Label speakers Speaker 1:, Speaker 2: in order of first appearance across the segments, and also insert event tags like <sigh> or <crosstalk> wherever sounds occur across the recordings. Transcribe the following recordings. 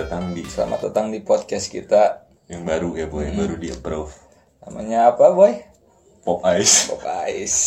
Speaker 1: Selamat datang di podcast kita.
Speaker 2: yang baru ya boy, yang baru di approve.
Speaker 1: Namanya apa, Boy?
Speaker 2: Pop <laughs> Ice.
Speaker 1: Pop Ice.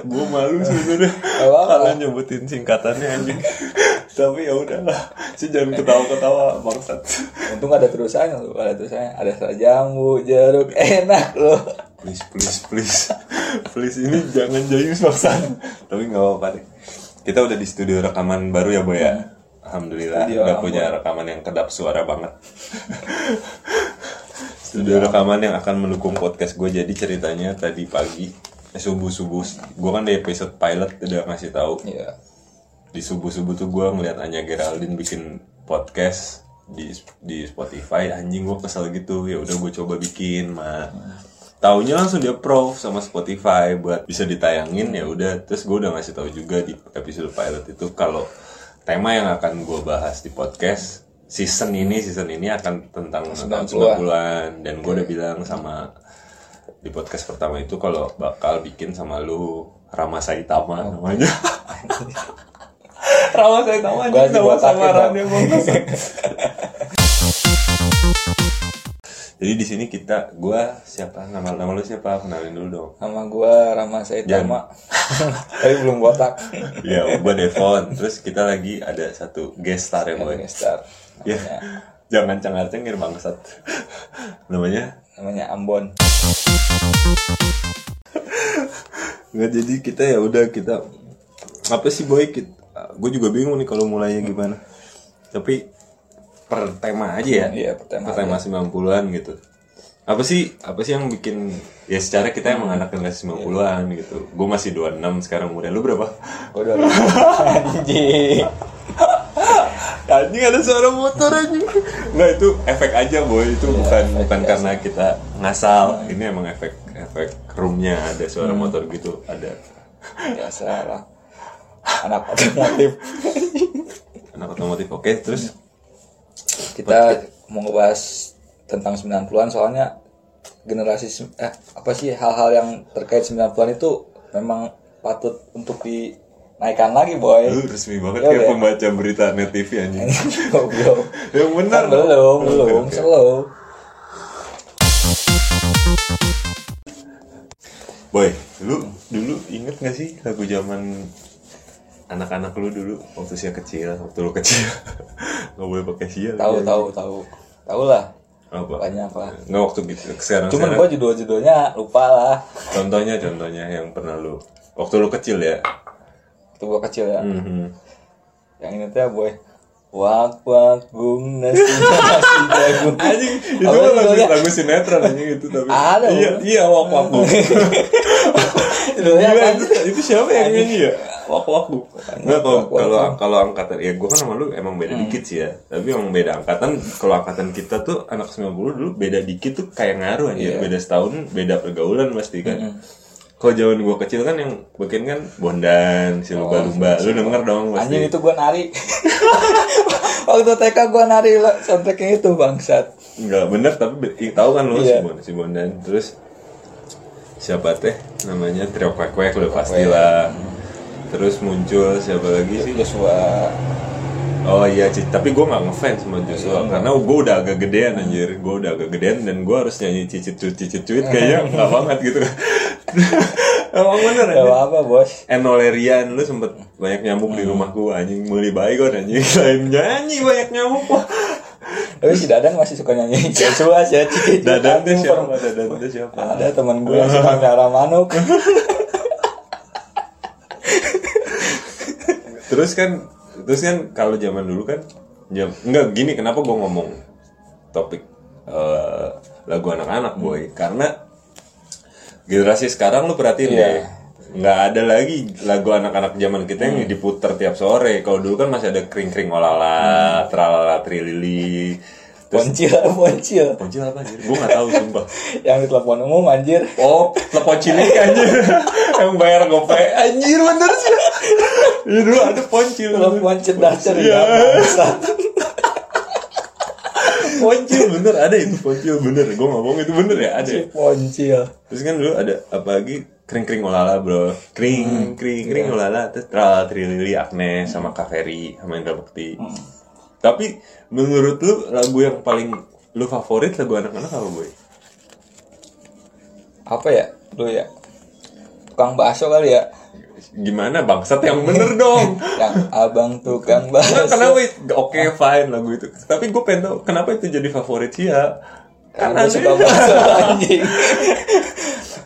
Speaker 2: gue malu sebenarnya
Speaker 1: apa-apa.
Speaker 2: karena nyebutin singkatannya anjing. <laughs> Tapi ya udahlah, sih jangan ketawa-ketawa bangsat.
Speaker 1: Untung ada terusannya lu, ada terusannya. Ada selai jambu, jeruk, enak lu.
Speaker 2: Please, please, please, <laughs> please ini jangan jadi bangsat. Tapi nggak apa-apa deh. Kita udah di studio rekaman baru ya boy ya. Alhamdulillah,
Speaker 1: Studio
Speaker 2: nggak
Speaker 1: ampun.
Speaker 2: punya rekaman yang kedap suara banget. <laughs> studio rekaman yang akan mendukung podcast gue jadi ceritanya tadi pagi subuh subuh gue kan di episode pilot udah ngasih tahu
Speaker 1: Iya.
Speaker 2: di subuh-subuh tuh gue ngeliat Anya Geraldine bikin podcast di di Spotify anjing gue kesel gitu ya udah gue coba bikin mah taunya langsung dia approve sama Spotify buat bisa ditayangin ya udah terus gue udah ngasih tahu juga di episode pilot itu kalau tema yang akan gue bahas di podcast season ini season ini akan tentang tentang 90-an dan gue udah bilang sama di podcast pertama itu kalau bakal bikin sama lu Rama Saitama namanya <laughs> Rama Saitama anjing,
Speaker 1: Gua sih
Speaker 2: nama
Speaker 1: botakin,
Speaker 2: samarannya
Speaker 1: Bang.
Speaker 2: bagus. <laughs> Jadi di sini kita gua siapa nama nama lu siapa kenalin dulu dong.
Speaker 1: Nama gua Rama Saitama. <laughs> Tapi belum botak.
Speaker 2: Ya, gua Devon. Terus kita lagi ada satu guest star ya, Boy.
Speaker 1: Ini star.
Speaker 2: Ya. Jangan cengar-cengir bangsat. Namanya
Speaker 1: Namanya Ambon.
Speaker 2: Nggak jadi kita ya udah kita apa sih boy kita gue juga bingung nih kalau mulainya gimana tapi per tema aja ya
Speaker 1: Iya, per tema
Speaker 2: per tema 90-an gitu apa sih apa sih yang bikin ya secara kita emang anak generasi 90-an gitu gue masih 26 sekarang umurnya lu berapa
Speaker 1: Gua udah <laughs> anjing.
Speaker 2: <laughs> anjing ada suara motor anjing Iya, nggak itu efek aja boy itu bukan bukan karena kita ngasal ini emang efek efek roomnya ada suara motor gitu ada
Speaker 1: Biasa lah. Anak otomotif.
Speaker 2: anak otomotif oke terus
Speaker 1: kita mau ngebahas tentang 90-an soalnya generasi sem- eh apa sih hal-hal yang terkait 90-an itu memang patut untuk dinaikkan lagi boy.
Speaker 2: Lu resmi banget
Speaker 1: Iya,
Speaker 2: kayak
Speaker 1: Bang.
Speaker 2: pembaca berita net TV anjing.
Speaker 1: Goblok.
Speaker 2: Yang benar.
Speaker 1: Kan belum,
Speaker 2: Oke,
Speaker 1: belum,
Speaker 2: oke.
Speaker 1: slow.
Speaker 2: Boy, lu dulu inget gak sih lagu zaman anak-anak lu dulu waktu saya kecil, waktu lu kecil. <laughs> Gak boleh pakai sia.
Speaker 1: Tahu,
Speaker 2: lagi,
Speaker 1: tahu, tahu. Tahu lah,
Speaker 2: anjing. Apa?
Speaker 1: banyak lah.
Speaker 2: Nggak waktu gitu. Sekarang,
Speaker 1: Cuman
Speaker 2: sekarang.
Speaker 1: gua judul-judulnya lupa lah.
Speaker 2: contohnya contohnya yang pernah lu waktu lu kecil
Speaker 1: <laughs>
Speaker 2: ya.
Speaker 1: Waktu gua kecil ya.
Speaker 2: Mhm.
Speaker 1: Yang ini tuh ya, boy. Wak wak bung nasi <laughs> nasi jagung.
Speaker 2: Anjing, itu
Speaker 1: Apa
Speaker 2: kan lagu,
Speaker 1: judulnya?
Speaker 2: lagu sinetron anjing itu tapi.
Speaker 1: Ada,
Speaker 2: Iya,
Speaker 1: Bang.
Speaker 2: iya wak wak
Speaker 1: <laughs>
Speaker 2: Bang.
Speaker 1: Judulnya
Speaker 2: Gila,
Speaker 1: apa?
Speaker 2: itu, Iya, kan? itu siapa yang nyanyi ya? Wak wak bu. Nggak, kalau
Speaker 1: Wak-wak.
Speaker 2: kalau kalau angkatan ya gue kan sama lu emang beda
Speaker 1: Hmm.
Speaker 2: dikit sih ya. Tapi emang beda angkatan. Kalau angkatan kita tuh anak 90 dulu beda dikit tuh kayak ngaruh aja.
Speaker 1: Iya. Hmm.
Speaker 2: Beda setahun, beda pergaulan pasti kan. Kalau zaman gue kecil kan yang bikin kan Bondan, si lumba-lumba. lu denger dong pasti.
Speaker 1: Oh, iya, Anjing itu gua nari. <laughs> Waktu TK gua nari lah soundtracknya itu bangsat.
Speaker 2: Enggak bener tapi be- i- tahu kan lu si,
Speaker 1: Iya.
Speaker 2: Bon, si Bondan. Terus siapa teh namanya Trio Kwek Kwek udah pastilah. Terus muncul siapa lagi sih?
Speaker 1: Joshua
Speaker 2: Oh iya, Ci. tapi gue gak ngefans sama Joshua karena gue udah agak gedean anjir, gue udah agak gedean dan gue harus nyanyi cicit cuit cicit cuit kayaknya nggak banget gitu kan. Iya. <laughs> Emang bener
Speaker 1: Gak
Speaker 2: ya?
Speaker 1: apa-apa bos
Speaker 2: Enolerian lu sempet banyak nyamuk di rumah gue anjing muli baygon anjing <laughs> lain nyanyi banyak nyamuk wah.
Speaker 1: Tapi si Dadang masih suka <laughs> nyanyi Joshua sih ya Cicit
Speaker 2: Dadan tuh
Speaker 1: Anjing,
Speaker 2: siapa?
Speaker 1: per-
Speaker 2: Dadan tuh siapa?
Speaker 1: Ada teman <laughs> gue yang suka merah manuk
Speaker 2: Terus kan terus kan kalau zaman dulu kan jam enggak gini kenapa gue ngomong topik eh, lagu anak-anak boy karena generasi sekarang lu perhatiin
Speaker 1: Iya.
Speaker 2: deh nggak ada lagi lagu anak-anak zaman kita yang diputar tiap sore kalau dulu kan masih ada kring kring olala tralala trilili terus
Speaker 1: Boncil, <laughs> boncil
Speaker 2: Ponjil apa anjir? Gue gak tau sumpah
Speaker 1: Yang di telepon umum anjir
Speaker 2: Oh, telepon cilik anjir Yang bayar gope Anjir bener sih Ya dulu ada poncil
Speaker 1: ya, Iya. Telepon cerdas cerdas
Speaker 2: Iya.
Speaker 1: bangsat.
Speaker 2: poncil bener ada itu poncil bener gue ngomong itu bener ya ada
Speaker 1: Iya.
Speaker 2: ya?
Speaker 1: Poncil.
Speaker 2: terus kan dulu ada apalagi kring kring olala bro kring kring kring olala terus Tra- trilili akne sama kaveri sama Indra Bekti tapi menurut lu lagu yang paling lu favorit lagu anak-anak apa boy
Speaker 1: Apa ya? Lu ya. Tukang bakso kali ya.
Speaker 2: gimana bangsat yang bener dong
Speaker 1: Yang abang tukang
Speaker 2: Nah,
Speaker 1: bakso.
Speaker 2: kenapa itu? Oke, fine lagu itu. Tapi gue pengen tahu kenapa itu jadi favorit Sia. Karena
Speaker 1: Karena suka
Speaker 2: dia
Speaker 1: <laughs> bakso anjing.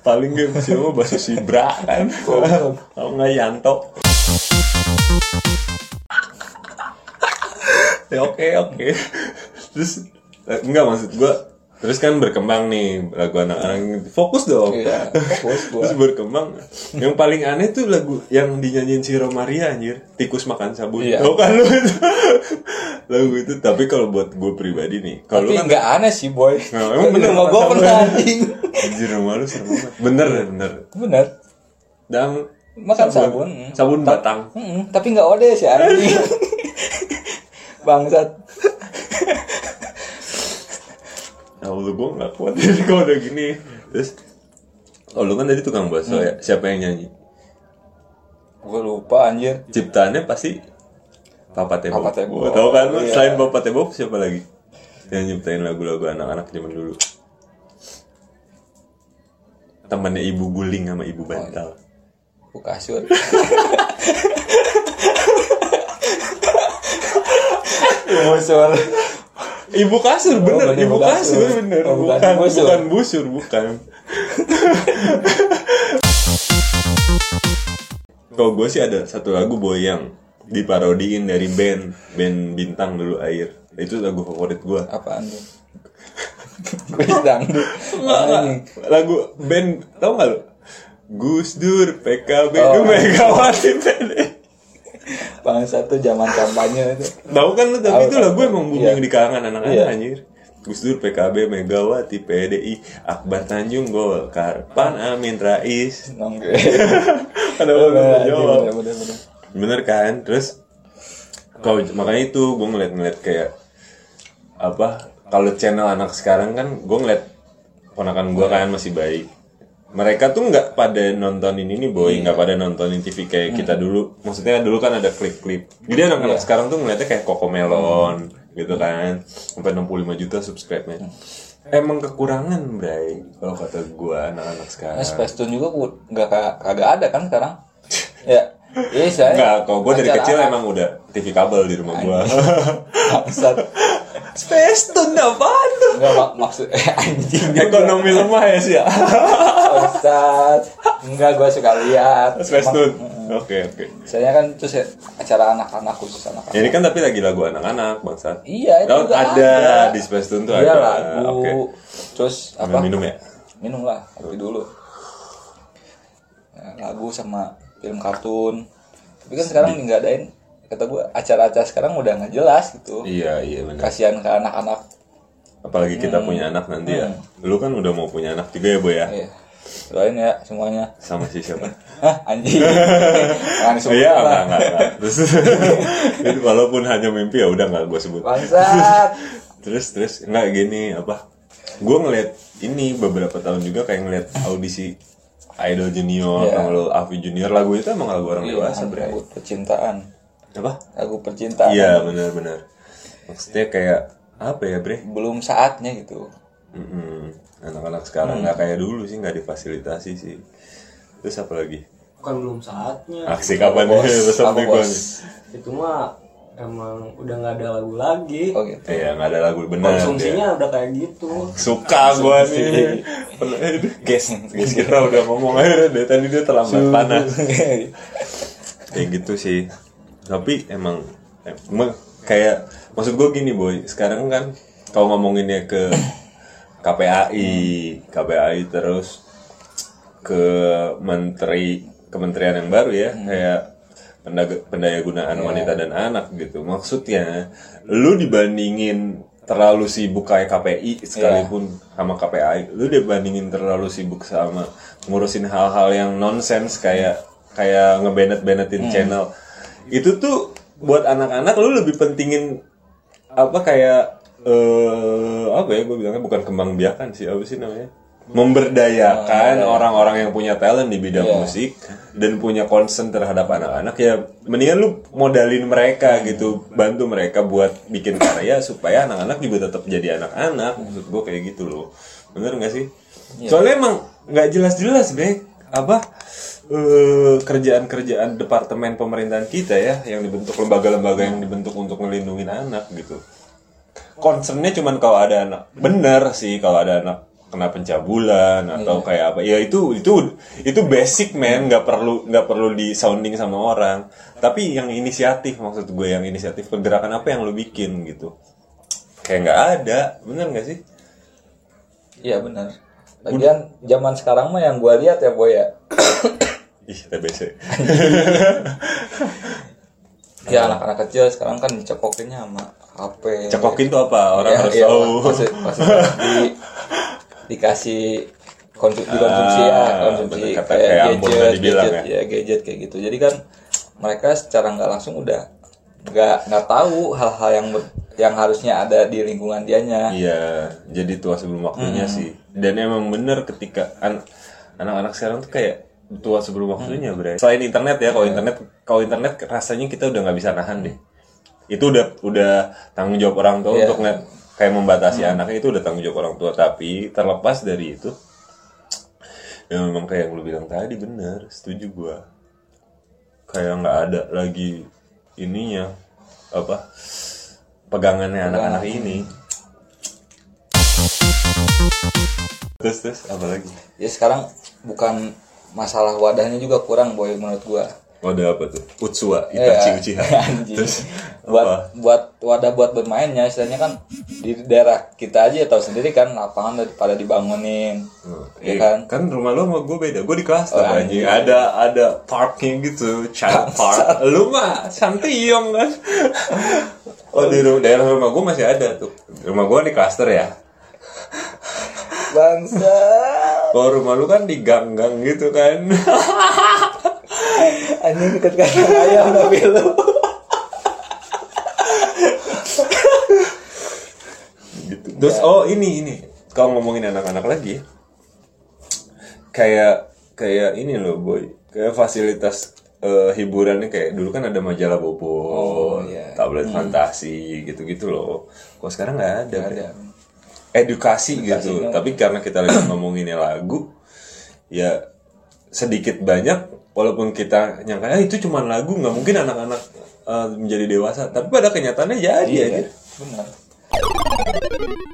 Speaker 2: paling gak masih mau bahasa Sibra kan. Kalau nggak Yanto. ya oke oke. Terus eh, enggak maksud gue. Terus kan berkembang nih lagu anak-anak. Fokus dong.
Speaker 1: Iya, fokus gua.
Speaker 2: Terus berkembang. Yang paling aneh tuh lagu yang dinyanyiin si Romaria anjir, tikus makan sabun.
Speaker 1: Iya.
Speaker 2: Tau kan lu itu? lagu itu. Tapi kalau buat gue pribadi nih, kalau
Speaker 1: Tapi
Speaker 2: lu kan
Speaker 1: nggak aneh sih, boy.
Speaker 2: Nah, emang bener
Speaker 1: Rumah Iya, gua
Speaker 2: makan
Speaker 1: pernah
Speaker 2: sabun.
Speaker 1: anjing.
Speaker 2: anjir rumah lu serem banget. Bener bener.
Speaker 1: Bener.
Speaker 2: Dan
Speaker 1: Makan sabun.
Speaker 2: sabun,
Speaker 1: mm.
Speaker 2: batang.
Speaker 1: Mm-mm, tapi nggak odes ya anjing. Bangsat.
Speaker 2: Nah, lu gue nggak kuat <laughs> jadi kalau udah gini. Terus Oh lu kan tadi tukang bakso
Speaker 1: Hmm.
Speaker 2: ya, siapa yang nyanyi?
Speaker 1: Gue lupa anjir.
Speaker 2: Ciptaannya pasti Papa Tebo.
Speaker 1: Papa Tebo.
Speaker 2: Gua Tau kan lu,
Speaker 1: Iya.
Speaker 2: selain Papa Tebo siapa lagi? Yang nyiptain lagu-lagu anak-anak zaman dulu. Temannya Ibu Guling sama
Speaker 1: Oh,
Speaker 2: Ibu Bantal.
Speaker 1: Aku kasur. Busur.
Speaker 2: Ibu kasur bener, Oh,
Speaker 1: bukan
Speaker 2: ibu
Speaker 1: Ibu Kasur.
Speaker 2: kasur bener,
Speaker 1: Oh, bukan
Speaker 2: bukan
Speaker 1: busur.
Speaker 2: bukan busur bukan. <laughs> Kalau gue sih ada satu lagu boyang diparodiin dari band band bintang dulu air itu lagu favorit gue.
Speaker 1: Apaan tuh? Kuis dangdut. Anjing.
Speaker 2: Lagu band tau gak lu? Gus Dur, PKB,
Speaker 1: Oh.
Speaker 2: Megawati, PD.
Speaker 1: Bangsat tuh zaman kampanye itu.
Speaker 2: Tahu kan lu tapi
Speaker 1: Tahu,
Speaker 2: itu
Speaker 1: tahu.
Speaker 2: lagu emang booming
Speaker 1: Iya.
Speaker 2: di kalangan anak-anak
Speaker 1: Iya.
Speaker 2: anjir. Gus Dur, PKB, Megawati, PDI, Akbar Tanjung, Golkar, Pan Amin Rais.
Speaker 1: Nongge.
Speaker 2: Ada orang
Speaker 1: Iya, Bener,
Speaker 2: yang
Speaker 1: anjing,
Speaker 2: jawab.
Speaker 1: bener, bener, bener.
Speaker 2: Bener kan? Terus kalau makanya itu gue ngeliat-ngeliat kayak apa? Kalau channel anak sekarang kan gue ngeliat ponakan gue kan masih bayi. Mereka tuh nggak pada nontonin ini boy, nggak pada nontonin TV kayak kita dulu. Maksudnya dulu kan ada klip-klip. Jadi anak-anak sekarang tuh ngeliatnya kayak Kokomelon gitu kan, sampai 65 juta subscribe-nya. Emang kekurangan, Bray. Kalau kata gue anak-anak sekarang.
Speaker 1: Nah, Space Tune juga ku- nggak ka- kagak ada kan <laughs> sekarang? Ya. Iya, saya.
Speaker 2: Enggak, kalau gue dari
Speaker 1: acara
Speaker 2: kecil
Speaker 1: anak.
Speaker 2: emang udah TV kabel di rumah gue.
Speaker 1: Bangsat.
Speaker 2: Space Tune apaan tuh?
Speaker 1: Enggak mak maksud eh, anjing.
Speaker 2: Ekonomi lemah ya sih ya.
Speaker 1: Bangsat. Enggak gua suka lihat.
Speaker 2: Space
Speaker 1: Emang-
Speaker 2: Tune. Oke oke.
Speaker 1: Saya kan itu se- acara anak-anak khusus anak-anak.
Speaker 2: Ini kan tapi lagi lagu anak-anak bangsa.
Speaker 1: Iya, itu
Speaker 2: Lalu
Speaker 1: juga
Speaker 2: ada
Speaker 1: ada.
Speaker 2: di Space Tune tuh
Speaker 1: Iya
Speaker 2: ada.
Speaker 1: lagu.
Speaker 2: Oke.
Speaker 1: Terus apa?
Speaker 2: Ambil Minum ya.
Speaker 1: Minum lah, kopi dulu. Nah, lagu sama film kartun. Tapi kan sekarang nggak adain. Kata gua acara-acara sekarang udah nggak jelas gitu.
Speaker 2: Iya iya benar.
Speaker 1: Kasihan ke anak-anak.
Speaker 2: Apalagi kita punya anak nanti ya. Lu kan udah mau punya anak juga ya boy ya.
Speaker 1: Hmm. Iya. Doain ya semuanya.
Speaker 2: Sama si siapa?
Speaker 1: Hah,
Speaker 2: <laughs>
Speaker 1: anjing. Jangan sebut
Speaker 2: Iya
Speaker 1: lah.
Speaker 2: enggak enggak. enggak. Terus <laughs> jadi walaupun hanya mimpi ya udah enggak gue sebut.
Speaker 1: Bangsat.
Speaker 2: terus terus nggak gini apa gue ngeliat ini beberapa tahun juga kayak ngeliat audisi idol junior
Speaker 1: Iya.
Speaker 2: kalau Avi junior lagu itu emang lagu orang dewasa
Speaker 1: Iya,
Speaker 2: bre
Speaker 1: lagu percintaan.
Speaker 2: apa
Speaker 1: Lagu percintaan.
Speaker 2: iya benar-benar maksudnya kayak apa ya bre
Speaker 1: Belum saatnya gitu.
Speaker 2: Mm-mm. anak-anak
Speaker 1: Hmm.
Speaker 2: sekarang nggak kayak dulu sih nggak difasilitasi sih terus apa lagi
Speaker 3: bukan belum saatnya
Speaker 2: aksi kapan
Speaker 1: Bos,
Speaker 2: nih Iya, besok
Speaker 1: apa
Speaker 2: nih gua
Speaker 1: bos?
Speaker 2: nih.
Speaker 3: itu mah emang udah nggak ada lagu lagi
Speaker 1: Oh gitu.
Speaker 2: iya nggak ada lagu benar
Speaker 3: konsumsinya udah kayak gitu
Speaker 2: suka gua nih eh, guys guys kita udah ngomong <laughs> aja dari tadi dia terlambat <laughs> panas kayak gitu sih tapi emang emang kayak maksud gue gini boy sekarang kan kalau ngomonginnya <coughs> ke KPAI KPAI terus ke menteri kementerian yang baru ya kayak pendaga- pendayagunaan wanita dan anak gitu maksudnya lu dibandingin terlalu sibuk kayak KPI sekalipun sama KPAI lu dibandingin terlalu sibuk sama ngurusin hal-hal yang nonsens kayak kayak ngebenet-benetin channel itu tuh buat anak-anak lu lebih pentingin apa kayak eh apa ya gue bilangnya bukan kembang biakan sih apa sih namanya memberdayakan orang-orang yang punya talent di bidang
Speaker 1: Iya.
Speaker 2: musik dan punya concern terhadap anak-anak ya mendingan lu modalin mereka gitu bantu mereka buat bikin karya supaya anak-anak juga tetap jadi anak-anak maksud gue kayak gitu loh bener nggak sih soalnya emang nggak jelas-jelas bre apa eh, kerjaan-kerjaan departemen pemerintahan kita ya yang dibentuk lembaga-lembaga yang dibentuk untuk melindungi anak gitu concernnya cuman kalau ada anak bener sih kalau ada anak kena
Speaker 1: Iya.
Speaker 2: pencabulan atau kayak apa ya itu itu itu basic man nggak perlu nggak perlu di sounding sama orang tapi yang inisiatif maksud gue yang inisiatif pergerakan apa yang lu bikin gitu kayak nggak ada bener nggak sih
Speaker 1: Iya benar. Lagian zaman sekarang mah yang gua lihat ya boy ya.
Speaker 2: ih
Speaker 1: <laughs>
Speaker 2: TBC Iya.
Speaker 1: ya anak-anak kecil sekarang kan dicekokinnya sama HP.
Speaker 2: cekokin tuh apa orang
Speaker 1: Ya,
Speaker 2: harus
Speaker 1: iya,
Speaker 2: tahu
Speaker 1: maksud- maksud di, dikasih konsum, dikonsumsi ya,
Speaker 2: Ah,
Speaker 1: konsumsi
Speaker 2: bener, kata
Speaker 1: kayak,
Speaker 2: kayak Ambon
Speaker 1: gadget,
Speaker 2: tadi bilang
Speaker 1: gadget, ya. gadget kayak gitu. Jadi kan mereka secara nggak langsung udah nggak nggak tahu hal-hal yang ber- yang harusnya ada di lingkungan dianya.
Speaker 2: Iya, jadi tua sebelum waktunya sih. Dan emang bener ketika an- anak-anak sekarang tuh kayak tua sebelum waktunya, Bre. Selain internet ya, kalau internet kalau internet rasanya kita udah nggak bisa nahan deh. Itu udah udah tanggung jawab orang tua
Speaker 1: Iya. Hmm.
Speaker 2: untuk nge- kayak membatasi anaknya itu udah tanggung jawab orang tua, tapi terlepas dari itu ya memang kayak yang lu bilang tadi bener, setuju gua. Kayak nggak ada lagi ininya apa pegangannya anak-anak
Speaker 1: Iya.
Speaker 2: ini. Terus terus apa lagi?
Speaker 1: Ya sekarang bukan masalah wadahnya juga kurang boy menurut gua.
Speaker 2: Wadah apa tuh? Utsua, Itachi
Speaker 1: Iya.
Speaker 2: Uchiha.
Speaker 1: <laughs> Anjing.
Speaker 2: Terus
Speaker 1: buat
Speaker 2: apa?
Speaker 1: buat wadah buat bermainnya istilahnya kan di daerah kita aja ya tahu sendiri kan lapangan udah pada dibangunin ya
Speaker 2: Iya
Speaker 1: kan
Speaker 2: kan rumah lo sama gue beda. Gue di kelas
Speaker 1: Oh,
Speaker 2: anjing. Ada ada parknya gitu,
Speaker 1: <laughs>
Speaker 2: child park. Lu mah santiong kan. Oh di ru- daerah rumah gue masih ada tuh. Rumah gue di klaster ya.
Speaker 1: bangsa
Speaker 2: Kalau rumah lu kan di gang-gang gitu kan. <laughs>
Speaker 1: anjing deket kandang ayam tapi lu
Speaker 2: gitu. Terus oh ini ini kalau ngomongin anak-anak lagi kayak kayak ini loh boy kayak fasilitas eh, hiburannya kayak dulu kan ada majalah Bobo,
Speaker 1: iya.
Speaker 2: tablet fantasi gitu-gitu loh. Kok sekarang nggak ada.
Speaker 1: ada
Speaker 2: Edukasi, gitu. Tapi karena kita lagi ngomongin lagu ya sedikit banyak walaupun kita nyangka "Ah, itu cuma lagu nggak mungkin anak-anak
Speaker 1: Iya,
Speaker 2: iya. eh, menjadi dewasa tapi pada kenyataannya jadi aja
Speaker 1: benar